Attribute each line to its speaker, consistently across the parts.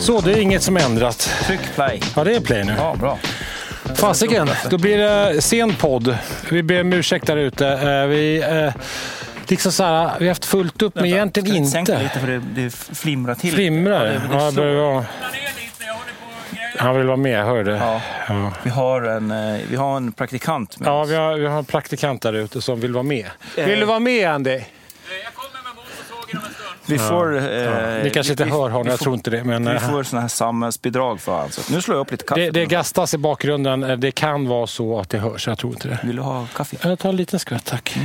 Speaker 1: Så, det är inget som är ändrat.
Speaker 2: Tryck play.
Speaker 1: Ja, det är play nu.
Speaker 2: Ja, bra.
Speaker 1: Fasiken, då blir det sen podd. Vi ber om ursäkt där ute. Eh, Vi, eh, liksom så här, vi har haft fullt upp, men egentligen
Speaker 2: Sänk det
Speaker 1: inte.
Speaker 2: lite för det, det flimrar till.
Speaker 1: Flimrar det?
Speaker 2: Ja, det- det
Speaker 1: Ja, jag
Speaker 2: slår.
Speaker 1: börjar vara- Han vill vara med, hörde du?
Speaker 2: Ja.
Speaker 1: Ja.
Speaker 2: Vi har en, eh, vi har en praktikant med
Speaker 1: Ja,
Speaker 2: oss.
Speaker 1: vi har, vi har en praktikant där ute som vill vara med.
Speaker 2: Eh.
Speaker 1: Vill du vara med, Andy?
Speaker 3: Jag kommer med motorsågen om en stund.
Speaker 2: Vi får... Eh,
Speaker 1: Ni kanske inte
Speaker 2: vi-
Speaker 1: hör honom,
Speaker 2: vi
Speaker 1: jag
Speaker 2: får-
Speaker 1: tror inte det. Men,
Speaker 2: Vi
Speaker 1: eh,
Speaker 2: får sådana här samhällsbidrag för honom. Nu slår jag upp lite kaffe.
Speaker 1: det, det gastas i bakgrunden. Eh, Det kan vara så att det hörs, jag tror inte det.
Speaker 2: Vill du ha kaffe?
Speaker 1: Jag tar en liten skvätt, tack.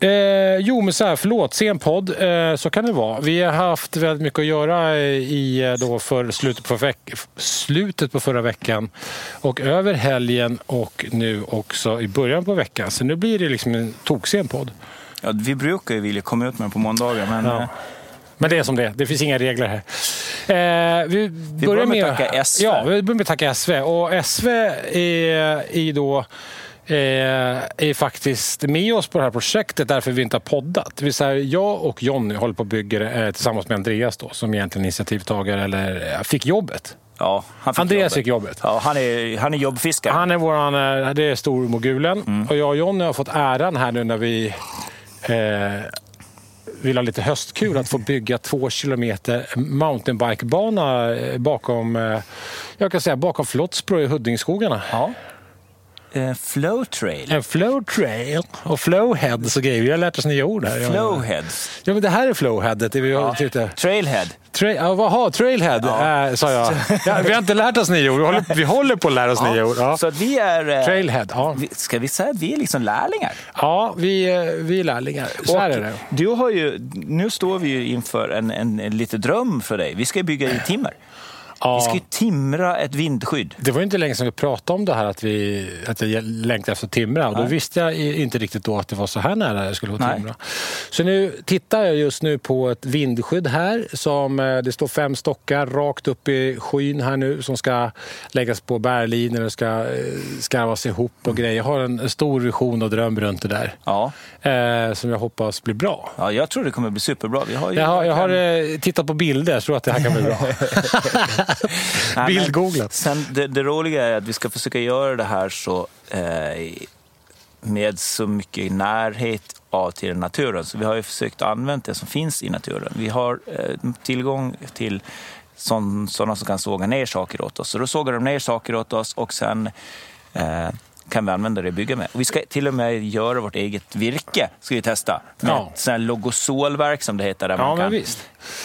Speaker 1: Eh, jo, men så här, förlåt, sen podd. Eh, så kan det vara. Vi har haft väldigt mycket att göra i eh, då för slutet, på veck- slutet på förra veckan och över helgen och nu också i början på veckan. Så nu blir det liksom en toksen podd.
Speaker 2: Ja, vi brukar ju vilja komma ut med den på måndagar, men
Speaker 1: Ja.
Speaker 2: eh,
Speaker 1: Men det är som det är. Det finns inga regler här. Eh, vi,
Speaker 2: börjar med att tacka SV.
Speaker 1: Ja, vi börjar med att tacka SV. Och SV är, är då eh, är faktiskt med oss på det här projektet därför vi inte har poddat. Det vill säga, jag och Jonny håller på och bygger eh, tillsammans med Andreas då, som egentligen är initiativtagare eller eh, fick jobbet.
Speaker 2: ja, han fick
Speaker 1: Andreas
Speaker 2: jobbet.
Speaker 1: fick jobbet.
Speaker 2: Ja, han är, han är jobbfiskare.
Speaker 1: Han är våran, eh, det är stormogulen. Och jag och Jonny har fått äran här nu när vi eh, vill ha lite höstkul att få bygga två kilometer mountainbikebana eh, bakom, eh, jag kan säga bakom Flottsbro i Huddingeskogarna.
Speaker 2: Ja. Eh, flow trail.
Speaker 1: En flow trail och flowheads och grejer. Vi har lärt oss nya ord här.
Speaker 2: Flowheads.
Speaker 1: Ja, men det här är flowheadet. Det vi har tittat.
Speaker 2: Trailhead.
Speaker 1: Tra- ja, Jaha, trailhead,
Speaker 2: Ja.
Speaker 1: eh, sa jag. Ja, vi har inte lärt oss nya ord. Vi håller, vi håller på att lära oss nya ord. Ja.
Speaker 2: Så att vi är... eh,
Speaker 1: Trailhead, ja.
Speaker 2: vi- Ska vi säga att vi är liksom lärlingar?
Speaker 1: Ja, vi, eh, vi är lärlingar. Så här
Speaker 2: Och
Speaker 1: är det.
Speaker 2: Du har ju, nu står vi ju inför en, en, en liten dröm för dig. Vi ska ju bygga i timmer. Vi ska ju timra ett vindskydd.
Speaker 1: Det var ju inte länge sedan vi pratade om det här att, vi, att jag längtade efter Timra. Och då
Speaker 2: Nej.
Speaker 1: visste jag i- inte riktigt då att det var så här nära jag skulle vara
Speaker 2: Nej.
Speaker 1: Timra. Så nu tittar jag just nu på ett vindskydd här. Som, eh, det står fem stockar rakt upp i skyn här nu som ska läggas på bärlinor och ska eh, skarvas ihop och grejer. Jag har en stor vision och dröm runt det där.
Speaker 2: Ja.
Speaker 1: Eh, som jag hoppas blir bra.
Speaker 2: ja, jag tror det kommer bli superbra. Vi har ju
Speaker 1: Jag har, jag har eh, tittat på bilder, jag tror att det här kan bli bra.
Speaker 2: Nej, men
Speaker 1: Bildgooglat.
Speaker 2: Sen, det, det roliga är att vi ska försöka göra det här så, eh, med så mycket närhet av till naturen. Så vi har ju försökt använda det som finns i naturen. Vi har eh, tillgång till sån- sådana som kan såga ner saker åt oss. Så då sågar de ner saker åt oss och sen eh, kan vi använda det och bygga med. Och vi ska till och med göra vårt eget virke, ska vi testa. Med
Speaker 1: Ja.
Speaker 2: ett sånt här logosolverk som det heter, där
Speaker 1: Ja,
Speaker 2: man
Speaker 1: men
Speaker 2: kan
Speaker 1: visst.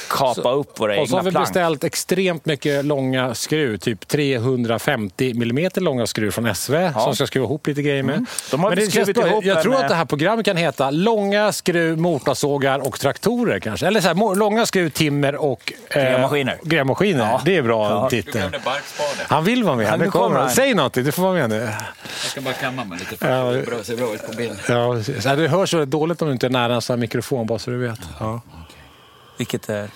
Speaker 2: kapa upp våra
Speaker 1: Och så har
Speaker 2: egna
Speaker 1: vi
Speaker 2: plank.
Speaker 1: beställt extremt mycket långa skruv, typ 350 millimeter långa skruv från SV som ska skruva ihop lite grejer med.
Speaker 2: Mm. De har
Speaker 1: Men det
Speaker 2: beskrivit
Speaker 1: känns bra.
Speaker 2: ihop
Speaker 1: jag
Speaker 2: en,
Speaker 1: tror att
Speaker 2: eh,
Speaker 1: det här programmet kan heta Långa skruv, motorsågar och traktorer kanske. Eller så här, mo- långa skruv, timmer och eh,
Speaker 2: Grävmaskiner.
Speaker 1: grävmaskiner. Det är bra
Speaker 2: Ja.
Speaker 3: Du
Speaker 1: titel.
Speaker 3: glömde barkspade.
Speaker 1: Han vill vara med.
Speaker 2: Ja,
Speaker 1: Han,
Speaker 2: nu
Speaker 1: kommer.
Speaker 2: kommer han.
Speaker 1: Säg något, du får vara med nu.
Speaker 3: Jag ska bara kamma mig lite för att det ser bra ut på bilden.
Speaker 1: Ja, precis. Ja, det hörs väldigt dåligt om du inte är nära en sån här mikrofon, bara så du vet. Ja.
Speaker 2: Vilket är...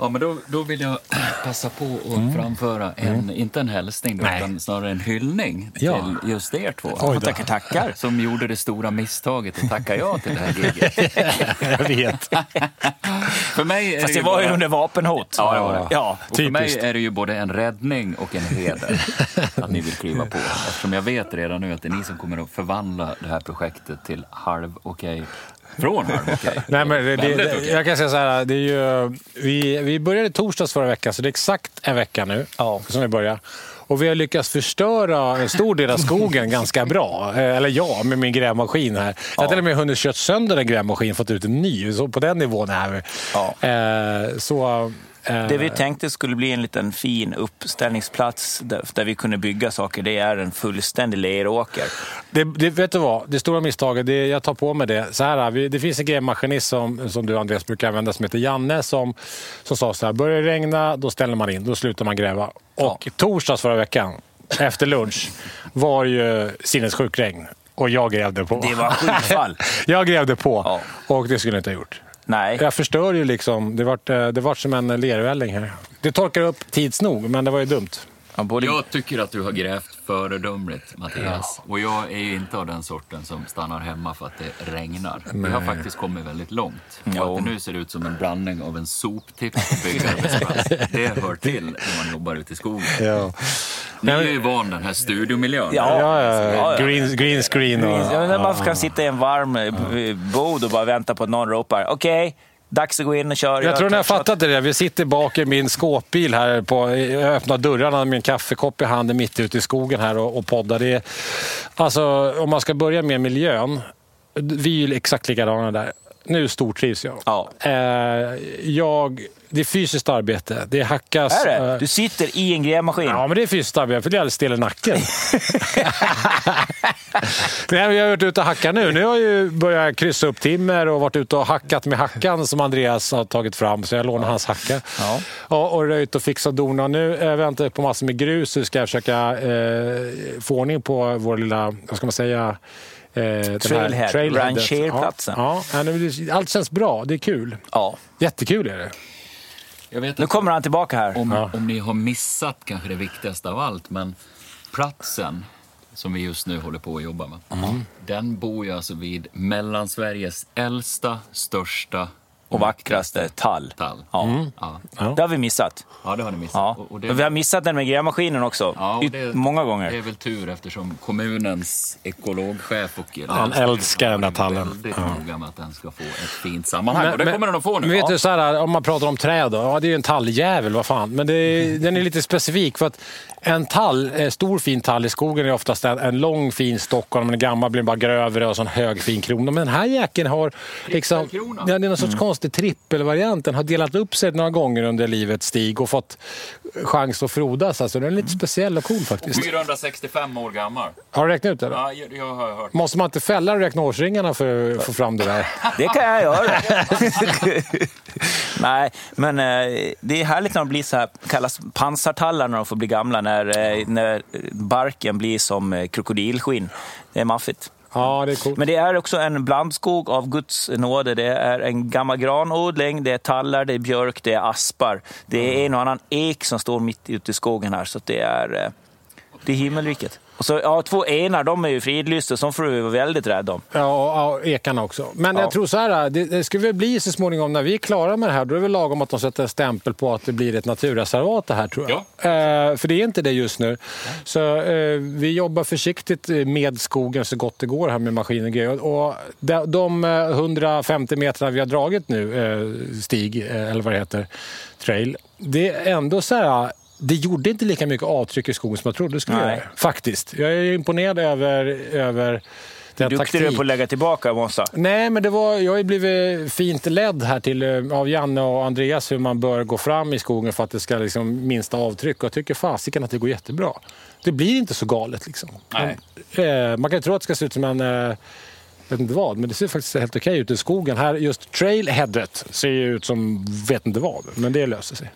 Speaker 3: Ja, men då, då vill jag passa på att
Speaker 1: Mm.
Speaker 3: framföra en, inte en hälsning, då,
Speaker 1: Nej.
Speaker 3: utan snarare en hyllning
Speaker 1: Mm. Ja.
Speaker 3: till just er två.
Speaker 1: Oj då.
Speaker 2: Tackar, tackar.
Speaker 3: Som gjorde det stora misstaget att tacka ja till det här giget.
Speaker 1: Jag vet.
Speaker 3: För mig är
Speaker 2: Fast
Speaker 3: ju
Speaker 2: det var ju
Speaker 3: bara-
Speaker 2: under vapenhot.
Speaker 3: Ja, det var det.
Speaker 2: Ja.
Speaker 3: Och för mig
Speaker 1: Typiskt.
Speaker 3: är det ju både en räddning och en heder att ni vill kliva på. Eftersom jag vet redan nu att det är ni som kommer att förvandla det här projektet till halv okej. Från halv okej.
Speaker 1: Nej, men det, det,
Speaker 3: Väldigt
Speaker 1: det,
Speaker 3: okej.
Speaker 1: jag kan säga så här, det är ju, vi, vi började torsdags förra veckan, så det är exakt en vecka nu
Speaker 2: Ja.
Speaker 1: som vi börjar. Och vi har lyckats förstöra en stor del av skogen ganska bra. Eh, Eller jag, med min grävmaskin här. Jag har till och med hunnit kört sönder en grävmaskin och fått ut en ny. Så på den nivån är vi.
Speaker 2: Ja.
Speaker 1: Eh, så, eh,
Speaker 2: Det vi tänkte skulle bli en liten fin uppställningsplats där, där vi kunde bygga saker, det är en fullständig leråker.
Speaker 1: Det, det, vet du vad? Det stora misstaget, det, jag tar på mig det. Så här, vi, det finns en grävmaskinist som, som du Andreas brukar använda som heter Janne som, som sa så här, börjar det regna då ställer man in, då slutar man gräva. Och torsdags förra veckan, efter lunch, var ju sinnessjuk regn. Och jag grävde på.
Speaker 2: Det var skitfall.
Speaker 1: Jag grävde på
Speaker 2: Ja.
Speaker 1: och det skulle jag inte ha gjort.
Speaker 2: Nej,
Speaker 1: Jag förstör ju liksom, det vart, eh, det vart som en lervälling här. Det torkar upp tids nog, men det var ju dumt.
Speaker 2: Man borde...
Speaker 3: Jag tycker att du har grävt föredömligt, Mattias. Och jag är ju inte av den sorten som stannar hemma för att det regnar. Vi har faktiskt kommit väldigt långt.
Speaker 2: Ja.
Speaker 3: Och att det nu ser ut som en blandning av en soptipp och byggarbetsplats, det hör till när man jobbar ute i skogen.
Speaker 1: Ja.
Speaker 3: Ni är ju van den här studiomiljön.
Speaker 2: Ja.
Speaker 1: Ja, ja,
Speaker 2: Ja, ja.
Speaker 1: Green, green screen och...
Speaker 2: Ja, men man kan sitta i en varm eh, bod och bara vänta på att någon ropar okej, dags att gå in och köra.
Speaker 1: Jag tror ni har
Speaker 2: kanske-
Speaker 1: fattat det. där. Vi sitter bak i min skåpbil här. På, jag öppnar dörrarna med en kaffekopp i handen mitt ute i skogen här och, och poddar. Det är, alltså, om man ska börja med miljön. Vi är ju exakt likadana där. Nu stortrivs jag.
Speaker 2: Ja.
Speaker 1: Eh, jag. Det är fysiskt arbete. Det hackas.
Speaker 2: Är det?
Speaker 1: eh,
Speaker 2: Du sitter i en grävmaskin.
Speaker 1: Ja, men det är fysiskt arbete, för det är alldeles stel i nacken. Nej, men jag har varit ute och hackat nu. Nu har jag ju börjat kryssa upp timmer och varit ute och hackat med hackan som Andreas har tagit fram, så jag lånar hans hacka.
Speaker 2: Ja.
Speaker 1: Ja, och röjt och fixat och donat. Nu eh, väntar jag på massor med grus, så ska jag försöka eh, få ordning på vår lilla, vad ska man säga, eh, den
Speaker 2: Trailhead,
Speaker 1: trailheadet.
Speaker 2: rancherplatsen.
Speaker 1: Ja, ja, nej, men det- allt känns bra. Det är kul.
Speaker 2: Ja.
Speaker 1: Jättekul är det.
Speaker 3: Jag vet
Speaker 2: Nu
Speaker 3: inte
Speaker 2: kommer han tillbaka här.
Speaker 3: om,
Speaker 1: Ja.
Speaker 3: om ni har missat kanske det viktigaste av allt, men platsen som vi just nu håller på att jobba med.
Speaker 2: Mm.
Speaker 3: Den bor ju alltså vid Mellansveriges äldsta, största
Speaker 2: Och vackraste tall.
Speaker 3: tall.
Speaker 2: Mm. Ja.
Speaker 3: Ja.
Speaker 2: Det har vi missat.
Speaker 3: ja, det har ni missat.
Speaker 2: Ja.
Speaker 3: Och, och det,
Speaker 2: Men Vi har missat den med grävmaskinen också.
Speaker 3: ja, och
Speaker 2: Yt-
Speaker 3: det-
Speaker 2: Många
Speaker 3: Det
Speaker 2: gånger.
Speaker 3: är väl tur eftersom kommunens ekologchef och
Speaker 1: Han älskar den där tallen.
Speaker 3: Väldigt noga med att den ska få ett fint sammanhang. och det kommer den att få nu.
Speaker 1: Men vet
Speaker 3: ja.
Speaker 1: du, så här, om man pratar om träd, då, ja, det är ju en talljävel, vad fan. Men det är,
Speaker 3: Mm.
Speaker 1: den är lite specifik. för att En tall, eh, stor fin tall i skogen är oftast en, en lång fin stock och om den är gammal blir den bara grövre och så en hög fin krona. Men den här jäkeln har liksom,
Speaker 3: Trippelkrona. Mm.
Speaker 1: ja, det är någon sorts konstig trippelvariant. Den har delat upp sig några gånger under livets stig och fått chans att frodas. Alltså, den är
Speaker 3: Mm.
Speaker 1: lite speciell och cool faktiskt.
Speaker 3: 465 år gammal.
Speaker 1: Har du räknat ut det? Då?
Speaker 3: Ja, jag, jag har hört.
Speaker 1: Måste man inte fälla och räkna årsringarna för att få fram det där?
Speaker 2: Det kan jag göra. Nej, men eh, det är härligt när de blir så här, kallas pansartallar när de får bli gamla. När, eh, när barken blir som eh, krokodilskinn. Det är maffigt.
Speaker 1: Ja, det är coolt.
Speaker 2: Men det är också en blandskog av Guds nåde. Det är en gammal granodling, det är tallar, det är björk, det är aspar. Det är en och annan ek som står mitt ute i skogen här, så att det är, eh, det är himmelriket. Och så, ja, två enar, de är ju fridlysta, som får vi vara väldigt rädda om.
Speaker 1: Ja, och, och ekarna också. Men
Speaker 2: Ja.
Speaker 1: jag tror så här, det, det ska väl bli så småningom när vi är klara med det här, då är det väl lagom att de sätter en stämpel på att det blir ett naturreservat det här tror jag. Eh, för det är inte det just nu. Så eh, vi jobbar försiktigt eh, med skogen så gott det går här med maskiner och grejer. Och de, de eh, 150 metrarna vi har dragit nu, eh, stig, eh, eller vad det heter, trail, det är ändå så här, det gjorde inte lika mycket avtryck i skogen som jag trodde det skulle
Speaker 2: Nej.
Speaker 1: göra. Faktiskt. Jag är imponerad över, över den
Speaker 2: Duktig du är på att lägga tillbaka, Monsa.
Speaker 1: Nej, men det var, jag har ju blivit fint ledd här till, eh, av Janne och Andreas hur man bör gå fram i skogen för att det ska liksom minsta avtryck. Och jag tycker fasiken att det går jättebra. Det blir inte så galet. Liksom.
Speaker 3: Nej.
Speaker 1: Men, eh, man kan ju tro att det ska se ut som en... Eh, vet inte vad, men det ser faktiskt helt okej ut i skogen. Här, just trailheadet ser ju ut som vet inte vad, men det löser sig.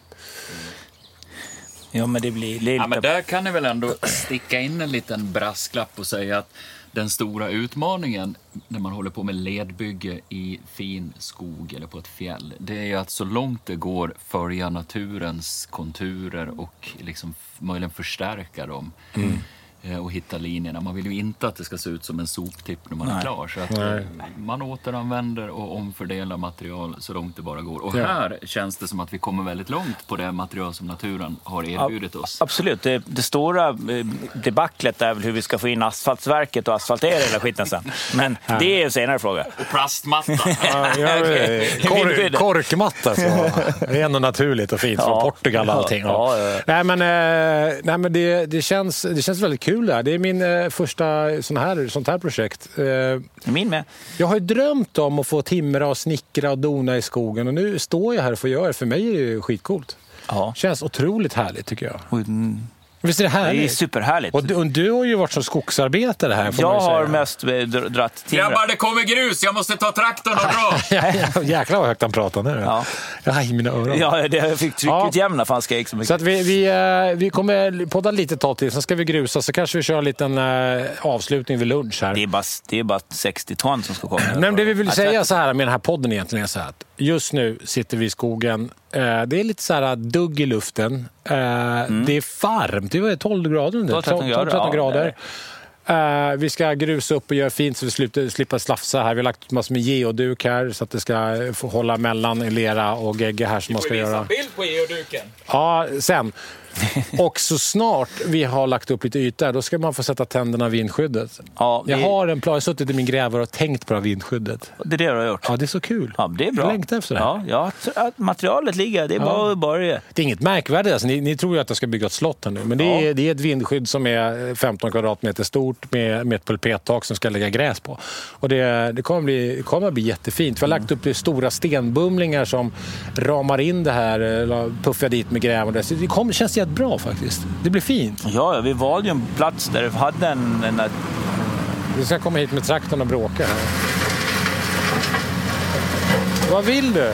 Speaker 2: Ja, men det blir... Det är
Speaker 3: Ja, men
Speaker 2: lite-
Speaker 3: där kan ni väl ändå sticka in en liten brasklapp och säga att den stora utmaningen när man håller på med ledbygge i fin skog eller på ett fjäll, det är ju att så långt det går följa naturens konturer och liksom f- möjligen förstärka dem.
Speaker 1: Mm.
Speaker 3: Eh, och hitta linjerna. Man vill ju inte att det ska se ut som en soptipp när man är klar. Så att
Speaker 1: Nej.
Speaker 3: man återanvänder och omfördelar material så långt det bara går. Och
Speaker 1: Ja.
Speaker 3: här känns det som att vi kommer väldigt långt på det material som naturen har erbjudit oss.
Speaker 2: Absolut. Det, det stora eh, debaclet är väl hur vi ska få in asfaltverket och asfaltera hela skiten sen. Men det är en senare fråga.
Speaker 3: Plastmatta.
Speaker 1: Ja, jag,
Speaker 2: Okej.
Speaker 1: kor,
Speaker 2: Vindskyddet.
Speaker 1: korkmatta. Så. Det är ändå naturligt och fint från
Speaker 2: Ja.
Speaker 1: Portugal och allting.
Speaker 2: Ja, ja, ja.
Speaker 1: Nej, men, eh, nej, men det, det, känns, det känns väldigt kul det här. Det är min eh, första sån här, sånt här projekt. Eh,
Speaker 2: Min med.
Speaker 1: Jag har ju drömt om att få timra och snickra och dona i skogen och nu står jag här och får göra det. För mig är det ju skitcoolt.
Speaker 2: Ja.
Speaker 1: Känns otroligt härligt tycker jag.
Speaker 2: Och, mm,
Speaker 1: Visst är det
Speaker 2: Det är
Speaker 1: härligt?
Speaker 2: superhärligt.
Speaker 1: och, du, och du har ju varit som skogsarbetare här. Får man
Speaker 2: Jag
Speaker 1: ju säga.
Speaker 2: har mest eh, dr- dratt timret.
Speaker 3: Grabbar, det kommer grus! Jag måste ta traktorn och dra!
Speaker 1: Jäklar vad högt han pratar nu.
Speaker 2: Ja.
Speaker 1: Aj, mina öron.
Speaker 2: Ja, det, jag fick tryckutjämna för han skrek så mycket.
Speaker 1: Så att vi, vi, eh, vi kommer podda lite tag till, sen ska vi grusa, så kanske vi kör en liten eh, avslutning vid lunch här.
Speaker 2: det, är bara, det är bara 60 ton som ska komma.
Speaker 1: Nej, men det vi vill
Speaker 2: Alltså, Att-
Speaker 1: säga så här med den här podden egentligen är så här att just nu sitter vi i skogen. Eh, Det är lite så här dugg i luften. Eh, Det är varmt. Det var 12 grader nu.
Speaker 2: 12-13
Speaker 1: 12-13 grader.
Speaker 2: Mm. grader, ja, det är
Speaker 1: Eh, vi ska grusa upp och göra fint så vi slutar, slipper slafsa här. Vi har lagt massor med geoduk här så att det ska få hålla mellan lera och gegga här som man ska göra.
Speaker 4: bild på geoduken.
Speaker 1: Ja, sen. Och så snart vi har lagt upp lite yta, då ska man få sätta tänderna i vindskyddet.
Speaker 2: Ja,
Speaker 1: Jag
Speaker 2: det-
Speaker 1: har en plan, jag har suttit i min grävare och tänkt på det här vindskyddet.
Speaker 2: Det är det du har gjort.
Speaker 1: Ja, det är så kul.
Speaker 2: Ja, men det är bra.
Speaker 1: Jag längtar efter det här.
Speaker 2: Ja, ja, t- att materialet ligger. Det är bara att börja.
Speaker 1: Det är inget märkvärdigt. Alltså, ni, ni tror ju att jag ska bygga ett slott här nu, men det, är, det är ett vindskydd som är 15 kvadratmeter stort med, med ett pulpettak som ska lägga gräs på. Och det, det kommer, bli, det kommer bli jättefint. Vi har lagt upp det stora stenbumlingar som ramar in det här, eller puffar dit med gräv. och det. Så Det kommer, känns jättebra faktiskt. Det blir fint.
Speaker 2: Ja, ja, vi valde ju en plats där vi hade en... en
Speaker 1: Vi ska komma hit med traktorn och bråka. Vad vill du?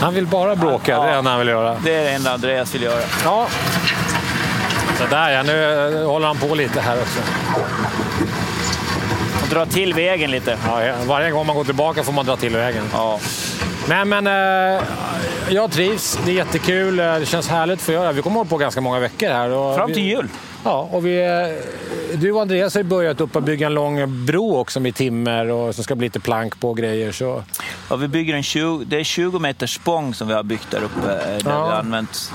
Speaker 1: Han vill bara bråka, det är det enda han vill göra.
Speaker 2: det är det enda Andreas vill göra.
Speaker 1: Ja. Så där ja, nu eh, håller han på lite här också.
Speaker 2: Och dra till vägen lite.
Speaker 1: Ja, ja, varje gång man går tillbaka får man dra till vägen.
Speaker 2: Ja.
Speaker 1: Nej, men eh, jag trivs. Det är jättekul. Eh, Det känns härligt för att göra. Vi kommer hålla på ganska många veckor här. Och
Speaker 2: Fram till
Speaker 1: vi-
Speaker 2: jul.
Speaker 1: Ja, och vi, eh, du och Andreas har ju börjat upp att bygga en lång bro också med timmer och som ska bli lite plank på och grejer. Så.
Speaker 2: Ja, vi bygger en 20, det är 20 meter spång som vi har byggt där uppe. eh, Där
Speaker 1: Ja.
Speaker 2: vi har använt...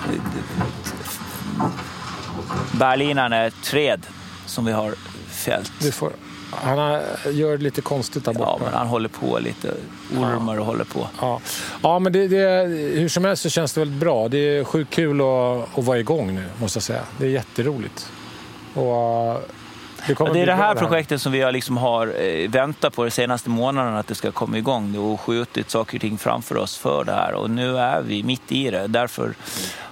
Speaker 2: Berlinan är ett träd som vi har fällt.
Speaker 1: Du får, han har- gör det lite konstigt där
Speaker 2: Ja,
Speaker 1: borta.
Speaker 2: men han håller på lite. Ormar och håller på.
Speaker 1: Ja, ja men det, det, hur som helst så känns det väldigt bra. Det är sjukt kul att, att vara igång nu, måste jag säga. Det är jätteroligt. Och, eh, det, kommer
Speaker 2: Ja, det
Speaker 1: bli
Speaker 2: är det
Speaker 1: bra
Speaker 2: här projektet som vi har, liksom har eh, väntat på de senaste månaderna att det ska komma igång och skjutit saker och ting framför oss för det här och nu är vi mitt i det. Därför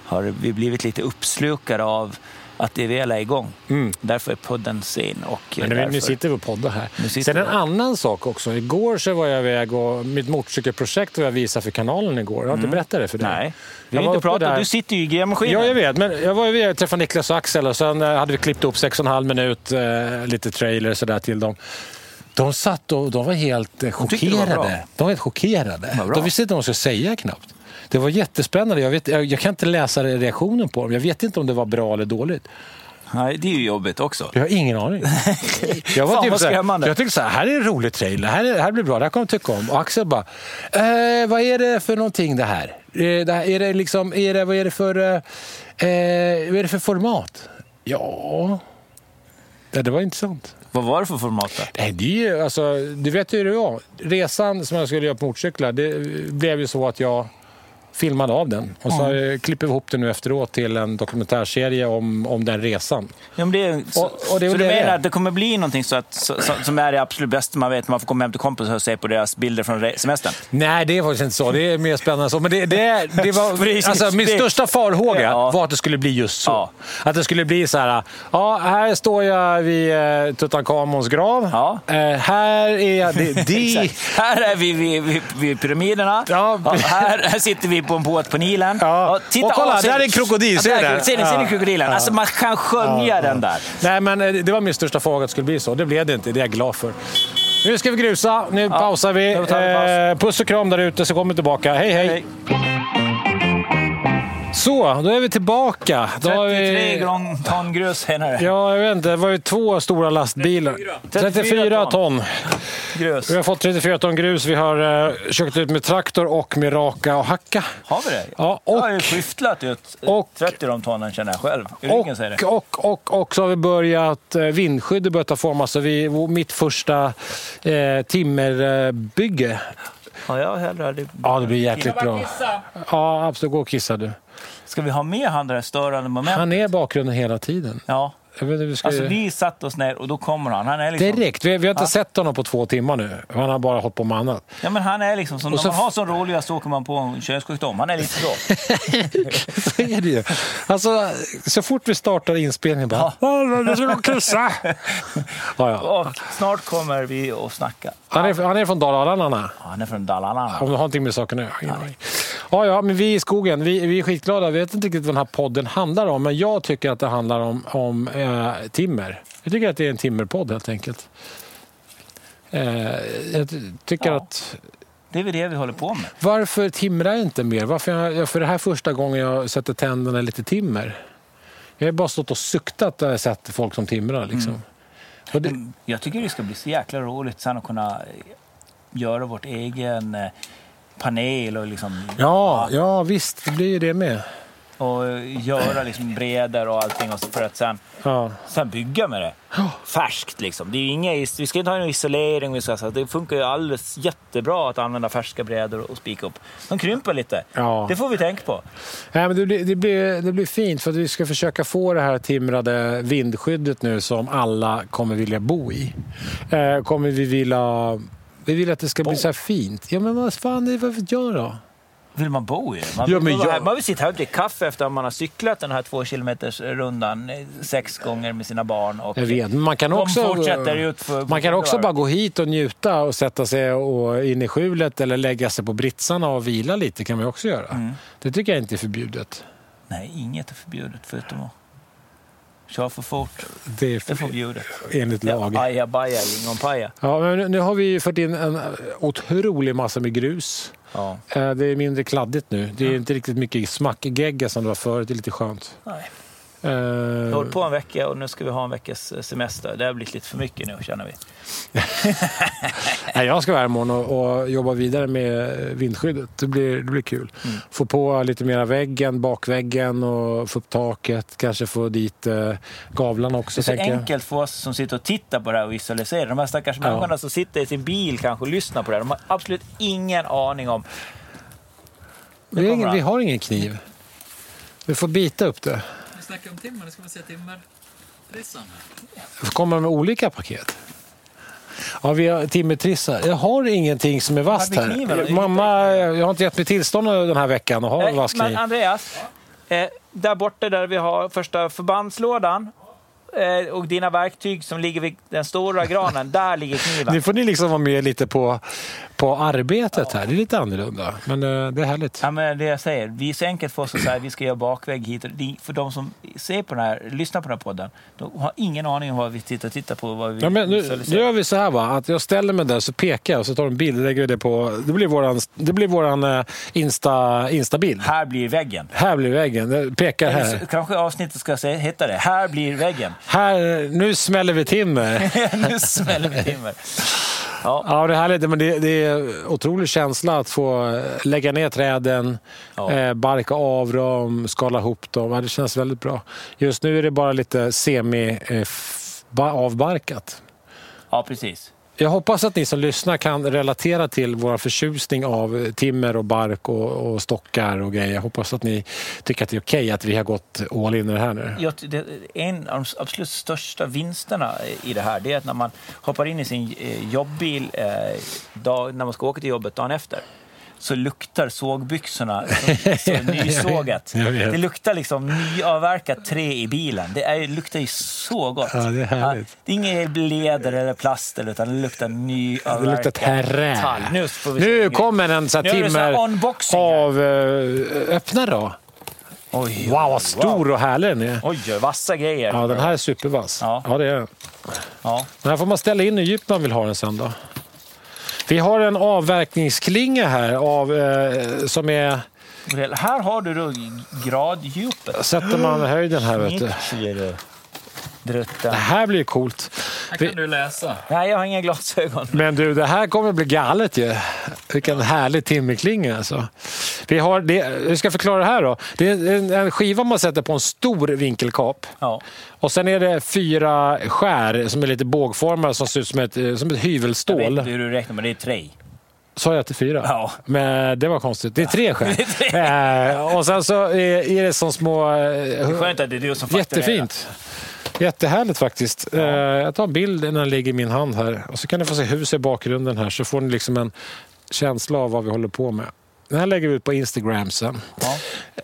Speaker 2: har vi blivit lite uppslukade av att det väl är igång. Därför är podden sen
Speaker 1: Mm.
Speaker 2: och eh,
Speaker 1: Men nu,
Speaker 2: därför...
Speaker 1: nu sitter vi och poddar här.
Speaker 2: Nu sitter
Speaker 1: Sen en
Speaker 2: vi.
Speaker 1: annan sak också. Igår så var jag iväg och mitt motorcykelprojekt var jag visade för kanalen igår. Jag har inte berättat det för dig.
Speaker 2: Mm. Nej, vi
Speaker 1: Jag
Speaker 2: har
Speaker 1: var
Speaker 2: inte
Speaker 1: uppe
Speaker 2: pratat.
Speaker 1: där.
Speaker 2: Du sitter ju i grävmaskinen.
Speaker 1: Ja, jag vet. Men jag var ju iväg och träffade Niklas och Axel och sen eh, hade vi klippt upp sex och en halv minut, eh, lite trailer och sådär till dem. De satt och de var helt eh,
Speaker 2: tyckte det var bra.
Speaker 1: chockerade. De var helt chockerade.
Speaker 2: Vad bra.
Speaker 1: De visste inte vad de skulle säga knappt. Det var jättespännande. Jag, vet, jag, jag kan inte läsa reaktionen på dem. Jag vet inte om det var bra eller dåligt.
Speaker 2: Nej, det är ju jobbigt också.
Speaker 1: Jag har ingen aning. Jag
Speaker 2: Fan, vad
Speaker 1: såhär-
Speaker 2: skrämmande.
Speaker 1: Jag tyckte så här, här är en rolig trailer, här, är, här blir bra, det här kommer jag tycka om. Och Axel bara, eh, vad är det för någonting det här? Eh, det här är det liksom, är det, vad är det för, eh, eh, vad är det för format? Ja, det, det var intressant.
Speaker 2: Vad var det för format då?
Speaker 1: Nej, det är ju, alltså, du vet ju hur det var. Resan som jag skulle göra på motorcyklar, det blev ju så att jag filmade av den. Och så
Speaker 2: Mm.
Speaker 1: eh, klipper vi ihop det nu efteråt till en dokumentärserie om, om den resan.
Speaker 2: Ja, men det är, så
Speaker 1: Och- och det är
Speaker 2: så
Speaker 1: väl
Speaker 2: du
Speaker 1: det det
Speaker 2: menar
Speaker 1: är.
Speaker 2: att det kommer bli någonting så att, så, så, som är det absolut bästa man vet när man får komma hem till kompisar och se på deras bilder från re- semestern?
Speaker 1: Nej, det är faktiskt inte så. Det är mer spännande så. Men det, det, det var,
Speaker 2: Precis.
Speaker 1: alltså, min
Speaker 2: Det-
Speaker 1: största farhåga
Speaker 2: Ja.
Speaker 1: var att det skulle bli just så.
Speaker 2: Ja.
Speaker 1: Att det skulle bli så här. Ja, här står jag vid eh, Tutankhamons grav.
Speaker 2: Ja.
Speaker 1: Eh, här är jag. Det, det,
Speaker 2: Exakt. Här är vi vid, vid, vid pyramiderna.
Speaker 1: Ja.
Speaker 2: här, här sitter vi på en båt på Nilen.
Speaker 1: Ja. Och kolla,
Speaker 2: ja, ser
Speaker 1: där
Speaker 2: ni-
Speaker 1: är en krokodil,
Speaker 2: Ja,
Speaker 1: ser
Speaker 2: där
Speaker 1: du
Speaker 2: är-
Speaker 1: det?
Speaker 2: Ser ni, ser ni
Speaker 1: Ja.
Speaker 2: krokodilen? Alltså, man kan skönja den där.
Speaker 1: nej, men eh, det var min största farhåga att det skulle bli så. Det blev det inte. Det är jag glad för. Nu ska vi grusa. Nu pausar vi.
Speaker 2: nu tar vi
Speaker 1: Eh, puss och kram där ute så kommer vi tillbaka. Hej, hej.
Speaker 2: Hej.
Speaker 1: Så, då är vi tillbaka. Då har vi-
Speaker 2: 33 gång ton grus senare.
Speaker 1: Ja, jag vet inte. Det var ju två stora lastbilar. 34,
Speaker 2: 34
Speaker 1: ton.
Speaker 2: Grus.
Speaker 1: Vi har fått 34 ton grus. Vi har eh, kökt ut med traktor och med raka och hacka.
Speaker 2: Har vi det?
Speaker 1: Ja,
Speaker 2: jag har ju
Speaker 1: och-
Speaker 2: skyfflat ut
Speaker 1: och-
Speaker 2: 30 de tonen känner jag själv. I
Speaker 1: Och,
Speaker 2: ryggen säger det.
Speaker 1: och, och, och så har vi börjat eh, vindskyddet börjat ta form. Alltså vi, mitt första eh, timmerbygge.
Speaker 2: Ja, jag hellre hade...
Speaker 1: Ja, det blir jäkligt
Speaker 4: Jag bara
Speaker 1: bra.
Speaker 4: kissa.
Speaker 1: Ja, absolut. Gå och kissa du.
Speaker 2: Ska vi ha med han det där störande momentet?
Speaker 1: Han är i bakgrunden hela tiden.
Speaker 2: Ja.
Speaker 1: Jag vet inte, vi ska
Speaker 2: Alltså
Speaker 1: ju-
Speaker 2: vi satte oss ner och då kommer han. Han är liksom,
Speaker 1: Eh. Direkt. Vi, vi har inte
Speaker 2: Ja.
Speaker 1: sett honom på två timmar nu. Han har bara hållit på med annat.
Speaker 2: ja, men han är liksom som,
Speaker 1: Och
Speaker 2: när
Speaker 1: så-
Speaker 2: man har sån roligast så åker man på en könssjukdom. Han är lite så.
Speaker 1: Så är det ju. Alltså, så fort vi startar inspelningen bara... "Åh, Jag ska gå och kissa! ja, ja.
Speaker 2: Och snart kommer vi att snacka.
Speaker 1: Han, är, han är från Dalarna. han är.
Speaker 2: Ja, Han är från Dalarna.
Speaker 1: Om det har någonting med saken nu. Ja, ja, men vi i skogen, vi, vi är skitglada. Vi vet inte riktigt vad den här podden handlar om, men jag tycker att det handlar om, om eh, timmer. Jag tycker att det är en timmerpodd helt enkelt. Eh, jag ty- tycker
Speaker 2: Ja.
Speaker 1: att
Speaker 2: Det är väl det vi håller på med.
Speaker 1: Varför timrar jag inte mer? Varför jag, jag- för det här första gången jag sätter tänderna i lite timmer. Jag har bara stått och suktat när jag sett folk som timrar. Liksom. Och det,
Speaker 2: Mm, Jag tycker det ska bli så jäkla roligt sen att kunna eh, göra vårt egen eh, panel och, liksom,
Speaker 1: ja, ja, visst, det blir ju det med.
Speaker 2: och eh, göra liksom breder och allting och så för att sen,
Speaker 1: Ja.
Speaker 2: sen bygga med det. Färskt liksom. Det är ju inga, is- vi ska inte ha någon isolering. Vi ska, så att det funkar ju alldeles jättebra att använda färska brädor och spika upp. De krymper lite.
Speaker 1: Ja.
Speaker 2: Det får vi tänka på.
Speaker 1: Nej, men det, blir, det, blir, det blir fint för att vi ska försöka få det här timrade vindskyddet nu som alla kommer vilja bo i. Eh, kommer vi vilja... Vi vill att det ska bli så här fint. Ja, men vad fan, det är vad vi gör då?
Speaker 2: Vill man bo i det? Man,
Speaker 1: Ja, men
Speaker 2: man-
Speaker 1: jag-
Speaker 2: man vill sitta här och dricka kaffe efter att man har cyklat den här två kilometers rundan eh, sex gånger med sina barn. Och
Speaker 1: Jag vet, men man kan också...
Speaker 2: De fortsätter ut för,
Speaker 1: Man kan också
Speaker 2: för-
Speaker 1: bara gå hit och njuta och sätta sig och in i skjulet eller lägga sig på britsarna och vila lite kan man ju också göra. Det tycker jag inte är förbjudet.
Speaker 2: Nej, inget är förbjudet förutom att köra för fort.
Speaker 1: Det är
Speaker 2: Det är
Speaker 1: förbjudet
Speaker 2: förbjudet.
Speaker 1: enligt lag.
Speaker 2: Ja, ajabaja, lingonpaja.
Speaker 1: Ja, men nu- nu har vi ju fört in en eh, otrolig massa med grus.
Speaker 2: Ja.
Speaker 1: Eh, Det är mindre kladdigt nu. Det är inte riktigt mycket smackgegga som det var förut. Det är lite skönt.
Speaker 2: Nej.
Speaker 1: Eh,
Speaker 2: Vi har hållit på en vecka och nu ska vi ha en veckas eh, semester. Det har blivit lite för mycket nu känner vi.
Speaker 1: Nej, jag ska vara här imorgon och, och jobba vidare med vindskyddet. Det blir, det blir kul.
Speaker 2: Mm.
Speaker 1: Få på lite mera väggen, bakväggen och få upp taket. Kanske få dit eh, gavlarna också.
Speaker 2: Det är så
Speaker 1: tänker jag.
Speaker 2: enkelt för oss som sitter och tittar på det här och visualiserar. De här stackars
Speaker 1: Ja.
Speaker 2: människorna som sitter i sin bil kanske och lyssnar på det här. De har absolut ingen aning om...
Speaker 1: Vi, har ingen,
Speaker 2: kommer
Speaker 1: vi har ingen kniv. Du får bita upp det.
Speaker 3: Vi snackar om timmar, nu ska vi se timmerprisan.
Speaker 1: Kommer de med olika paket? Ja, vi har timmertrissar. Jag har ingenting som är vasst
Speaker 2: Hade kniven,
Speaker 1: här.
Speaker 2: då?
Speaker 1: Mamma, jag har inte gett mig tillstånd den här veckan att ha
Speaker 2: Nej,
Speaker 1: en vass
Speaker 2: men
Speaker 1: kniv.
Speaker 2: Andreas, eh, där borta där vi har första förbandslådan eh, och dina verktyg som ligger vid den stora granen, där ligger kniven.
Speaker 1: Nu får ni liksom vara med lite på, på arbetet här. Det är lite annorlunda, men eh, det är härligt.
Speaker 2: Ja, men det jag säger, vi är så enkelt för oss att säga vi ska göra bakväg hit. och dit. För de som ser på den här, lyssnar på den här podden, de har ingen aning om vad vi tittar, tittar på. Vad vi
Speaker 1: Ja, men nu, nu
Speaker 2: visualiserar.
Speaker 1: gör vi så här va, att jag ställer mig där så pekar jag och så tar de en bild. Lägger vi det, på, det blir våran, det blir våran eh, Insta, Insta-bild.
Speaker 2: Här blir väggen.
Speaker 1: Här blir väggen, Det pekar
Speaker 2: Eller så-
Speaker 1: här.
Speaker 2: Kanske avsnittet ska se- heta det. Här blir väggen.
Speaker 1: Här, nu smäller vi timmer.
Speaker 2: nu smäller vi timmer. Ja,
Speaker 1: Ja, det är härligt. Men det, det är otrolig känsla att få eh, lägga ner träden,
Speaker 2: Ja.
Speaker 1: eh, barka av dem, skala ihop dem. Ja, det känns väldigt bra. Just nu är det bara lite eh, semi-avbarkat.
Speaker 2: ja, precis.
Speaker 1: Jag hoppas att ni som lyssnar kan relatera till vår förtjusning av timmer och bark och, och stockar och grejer. Jag hoppas att ni tycker att det är okej att vi har gått all in i det här nu.
Speaker 2: Jag, ty- det, en av de absolut största vinsterna i det här det är att när man hoppar in i sin eh, jobbbil eh, dag, när man ska åka till jobbet dagen efter så luktar sågbyxorna så, så nysågat.
Speaker 1: Jag vet.
Speaker 2: Det luktar liksom nyavverkat trä i bilen. Det är, luktar ju så gott.
Speaker 1: Ja, det är härligt.
Speaker 2: det är inget leder eller plast eller, utan det luktar nyavverkat
Speaker 1: Det luktar
Speaker 2: tall.
Speaker 1: terräng.
Speaker 2: Nu, får vi se.
Speaker 1: Nu kommer en sån här
Speaker 2: Nu är det så här
Speaker 1: timmer
Speaker 2: unboxing här.
Speaker 1: av... eh, Öppna då.
Speaker 2: Oj,
Speaker 1: Wow, vad stor och härlig den är.
Speaker 2: Oj, vassa grejer.
Speaker 1: Ja, den här är supervass.
Speaker 2: Ja.
Speaker 1: Ja, det är den.
Speaker 2: Ja.
Speaker 1: Den här får man ställa in hur djupt man vill ha den sen då. Vi har en avverkningsklinga här av, eh, som är...
Speaker 2: Här har du då graddjupet.
Speaker 1: Sätter man höjden här vet du.
Speaker 2: Mitchell.
Speaker 1: Det
Speaker 2: Drutten.
Speaker 1: här blir coolt.
Speaker 3: Här
Speaker 1: Vi-
Speaker 3: kan du läsa.
Speaker 2: Nej, jag har inga glasögon.
Speaker 1: Men du, det här kommer bli galet ju. Vilken härlig timmerklinga alltså. Vi har det, hur ska jag förklara det här då? Det är en, en skiva man sätter på en stor vinkelkap.
Speaker 2: Ja.
Speaker 1: Och sen är det fyra skär som är lite bågformade som ser ut som ett, eh, som ett
Speaker 2: Jag vet inte
Speaker 1: hyvelstål.
Speaker 2: hur du räknar, men det är tre.
Speaker 1: Sa jag till fyra?
Speaker 2: Ja.
Speaker 1: Men eh, det var konstigt. Det är tre skär. eh, och sen så är, är det som små... eh,
Speaker 2: Skönt att det är du som fakturerar.
Speaker 1: Jättefint. Jättehärligt faktiskt. Eh, Jag tar bilden när den ligger i min hand här. Och så kan ni få se huset i bakgrunden här så får ni liksom en känsla av vad vi håller på med. Den här lägger vi ut på Instagram sen.
Speaker 2: Ja.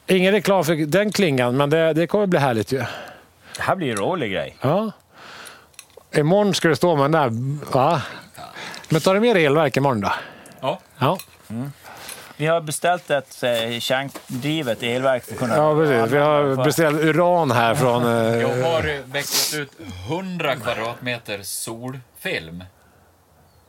Speaker 1: Ingen reklam för den klingan, men det, det kommer bli härligt ju.
Speaker 2: Det här blir en rolig grej.
Speaker 1: Ja. Imorgon ska du stå med den där. Va? Men tar du med dig elverk imorgon då?
Speaker 3: Ja.
Speaker 1: Ja,
Speaker 2: Vi har beställt ett eh, kärndrivet elverk för att kunna...
Speaker 1: ja precis. Vi har beställt uran här från... eh,
Speaker 3: Jag har växlat ut 100 kvadratmeter solfilm.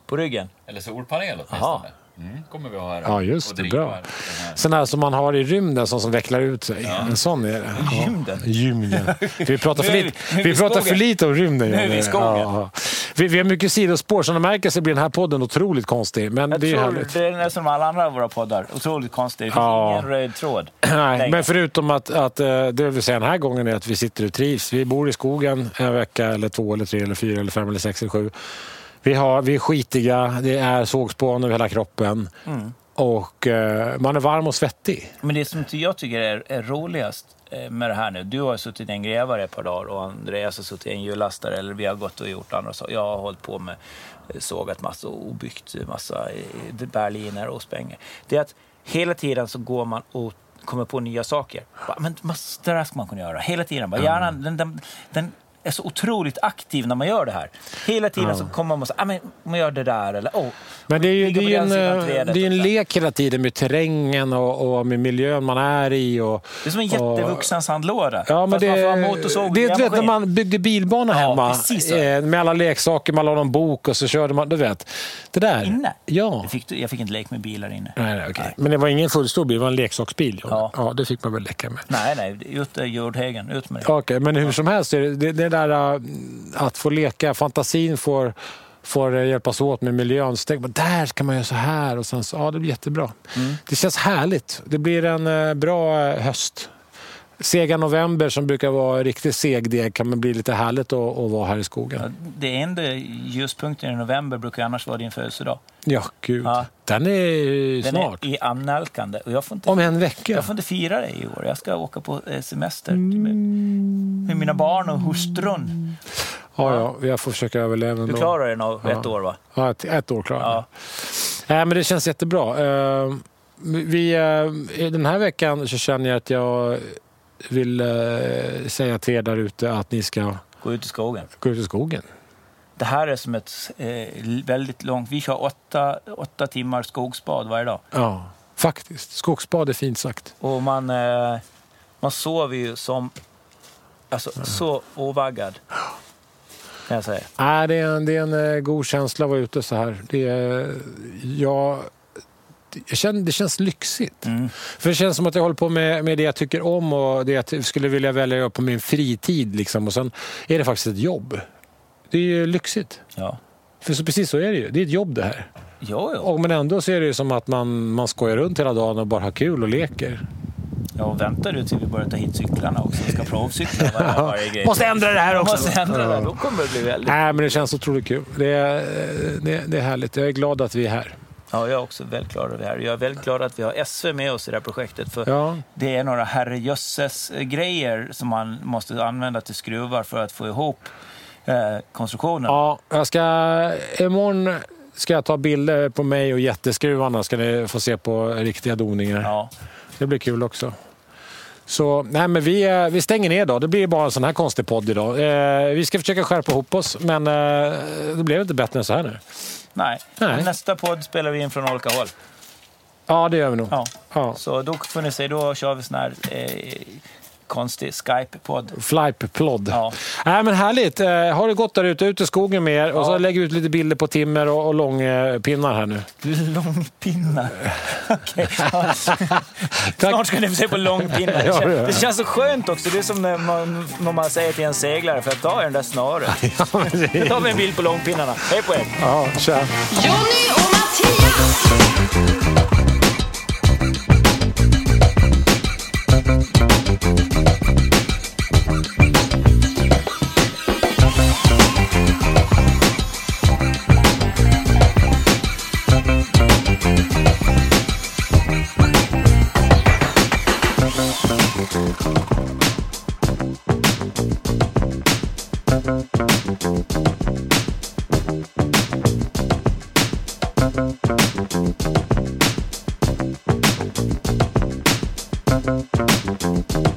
Speaker 2: På ryggen.
Speaker 3: Eller solpanel
Speaker 2: Jaha.
Speaker 3: åtminstone. Mm, kommer vi ha här.
Speaker 1: Ja, just
Speaker 3: och
Speaker 1: det.
Speaker 3: driva
Speaker 1: Bra.
Speaker 3: den här.
Speaker 1: Sån här som man har i rymden, sån som vecklar ut sig. En sån är det. Ja.
Speaker 2: Rymden?
Speaker 1: Rymden. Vi pratar för
Speaker 2: Nu är
Speaker 1: lite,
Speaker 2: vi- nu är
Speaker 1: vi
Speaker 2: vi i
Speaker 1: pratar
Speaker 2: skogen.
Speaker 1: för lite om rymden.
Speaker 2: Nu är vi i
Speaker 1: Johnny.
Speaker 2: skogen.
Speaker 1: Vi, vi har mycket sidospår, som ni märker så blir den här podden otroligt konstig. Men
Speaker 2: Jag
Speaker 1: det är ju
Speaker 2: tror
Speaker 1: härligt.
Speaker 2: det är som alla andra av våra poddar. Otroligt konstigt. Det finns
Speaker 1: Ja.
Speaker 2: ingen röd tråd.
Speaker 1: Nej,
Speaker 2: längre.
Speaker 1: men förutom att, att eh, det vill säga den här gången är att vi sitter och trivs. Vi bor i skogen en vecka, eller två, eller tre, eller fyra, eller fem, eller sex, eller sju. Vi, har, vi är skitiga, det är sågspån över hela kroppen.
Speaker 2: Mm.
Speaker 1: Och eh, man är varm och svettig.
Speaker 2: Men det som ty- jag tycker är, är roligast eh, med det här nu. Du har ju suttit i en grävare ett par dagar och Andreas har suttit i en hjullastare. Eller vi har gått och gjort andra saker. Jag har hållit på med eh, sågat massa och byggt massa eh, berliner och spänger. Det är att hela tiden så går man och kommer på nya saker. Bara, Men mass- det där ska man kunna göra. Hela tiden. Bara, hjärnan, den, den, den är så otroligt aktiv när man gör det här. Hela tiden så kommer man och säger, ah, men man gör det där eller oh,
Speaker 1: Men det är ju, det
Speaker 2: ligger
Speaker 1: är
Speaker 2: på
Speaker 1: ju
Speaker 2: den
Speaker 1: en,
Speaker 2: sidan
Speaker 1: eh,
Speaker 2: trädet
Speaker 1: det är ju en
Speaker 2: och så.
Speaker 1: lek hela tiden med terrängen och, och med miljön man är i. Och,
Speaker 2: Det är som en
Speaker 1: och-
Speaker 2: jättevuxen sandlåda.
Speaker 1: Ja, men
Speaker 2: Fast
Speaker 1: det,
Speaker 2: man får ha motorsåg och
Speaker 1: det är du vet, när
Speaker 2: grävmaskin.
Speaker 1: man byggde bilbana
Speaker 2: Ja,
Speaker 1: hemma
Speaker 2: precis så.
Speaker 1: eh, med alla leksaker, man la någon bok och så körde man. Du vet, det där.
Speaker 2: Inne?
Speaker 1: Ja.
Speaker 2: Jag fick, jag fick inte lek med bilar inne.
Speaker 1: Nej, nej, okej. Men det var ingen fullstor bil, det var en leksaksbil. Ja.
Speaker 2: Ja.
Speaker 1: ja, det fick man väl leka med.
Speaker 2: Nej, nej. Ut ur jordhögen. Ut med det.
Speaker 1: Okej, men hur som helst, är det, det, det där äh, att få leka, fantasin får, får äh, hjälpas åt med miljön. Så tänker man, där ska man göra så här och sen så, ja det blir jättebra.
Speaker 2: Mm.
Speaker 1: Det känns härligt. Det blir en äh, bra äh, höst. Sega november som brukar vara riktigt segdeg kan man bli lite härligt att, att vara här i skogen.
Speaker 2: Det enda ljuspunkten i november brukar ju annars vara din födelsedag.
Speaker 1: Ja, gud.
Speaker 2: Ja.
Speaker 1: Den är ju
Speaker 2: Den
Speaker 1: snart.
Speaker 2: är i annalkande. Och jag får inte
Speaker 1: Om en vecka.
Speaker 2: Jag får inte fira det i år. Jag ska åka på eh, semester
Speaker 1: Mm.
Speaker 2: med, med mina barn och hustrun.
Speaker 1: Ja, ja, jag får försöka överleva
Speaker 2: Du
Speaker 1: ändå.
Speaker 2: klarar dig nog ett
Speaker 1: Ja.
Speaker 2: år, va?
Speaker 1: Ja, ett, ett år klarar jag.
Speaker 2: Ja.
Speaker 1: Nej, men det känns jättebra. Eh, Vi, eh, i den här veckan så känner jag att jag vill eh, säga till er där ute att ni ska
Speaker 2: Gå ut i skogen.
Speaker 1: gå ut i skogen.
Speaker 2: Det här är som ett eh, väldigt långt... Vi kör åtta, åtta timmar skogsbad varje dag.
Speaker 1: Ja, faktiskt. Skogsbad är fint sagt.
Speaker 2: Och man, eh, man sover ju som... Alltså, så ovaggad. Kan jag säga.
Speaker 1: Nej, det är en, det är en eh, god känsla att vara ute så här. Det, är, jag, jag känner, det känns
Speaker 2: Mm.
Speaker 1: lyxigt. För det känns som att jag håller på med, med det jag tycker om och det jag ty- skulle vilja välja att göra på min fritid. Liksom. Och sen är det faktiskt ett jobb. Det är ju lyxigt.
Speaker 2: Ja.
Speaker 1: För så, precis så är det ju. Det är ett jobb det här.
Speaker 2: Jo, jo.
Speaker 1: Och, men ändå så är det ju som att man, man skojar runt hela dagen och bara har kul och leker.
Speaker 2: Ja, och väntar du till vi börjar ta hit cyklarna också. Vi ska provcykla varje, varje grej.
Speaker 1: Måste ändra det här också!
Speaker 2: Måste ändra det. Då kommer det bli väldigt...
Speaker 1: Nej, men det känns otroligt kul. Det är, eh, det, det är härligt. Jag är glad att vi är här.
Speaker 2: Ja, jag är också väldigt glad över det här. Jag är väldigt glad att vi har SV med oss i det här projektet. För
Speaker 1: Ja.
Speaker 2: Det är några herrejösses-grejer som man måste använda till skruvar för att få ihop eh, konstruktionen.
Speaker 1: Ja, jag ska... Imorgon ska jag ta bilder på mig och jätteskruvarna. ska ni få se på riktiga doningar.
Speaker 2: Ja.
Speaker 1: Det blir kul också. Så, nej men vi, eh, vi stänger ner då. Det blir bara en sån här konstig podd idag. Eh, vi ska försöka skärpa ihop oss, men eh, det blev inte bättre än så här nu.
Speaker 2: Nej.
Speaker 1: Nej.
Speaker 2: Nästa podd spelar vi in från olika håll.
Speaker 1: Ja, det gör vi nog.
Speaker 2: Ja.
Speaker 1: Ja.
Speaker 2: Så då får ni se, då kör vi sån här eh, konstig Skype-podd.
Speaker 1: Flype-plodd.
Speaker 2: Ja.
Speaker 1: Nej, men härligt. Eh, Har det gott där ute. Ut i skogen med er. Och så lägg ut lite bilder på timmer och, och långpinnar här nu.
Speaker 2: Långpinnar. Okej. Ja. Snart ska ni få se på långpinnar. Det
Speaker 1: Ja, det gör
Speaker 2: känns, det känns så skönt också. Det är som när man, när man säger till en seglare, för att ta i den där snöret. Nu tar vi en bild på långpinnarna. Hej på er!
Speaker 1: Ja, tja.
Speaker 4: Johnny och Mattias!
Speaker 5: Thank you.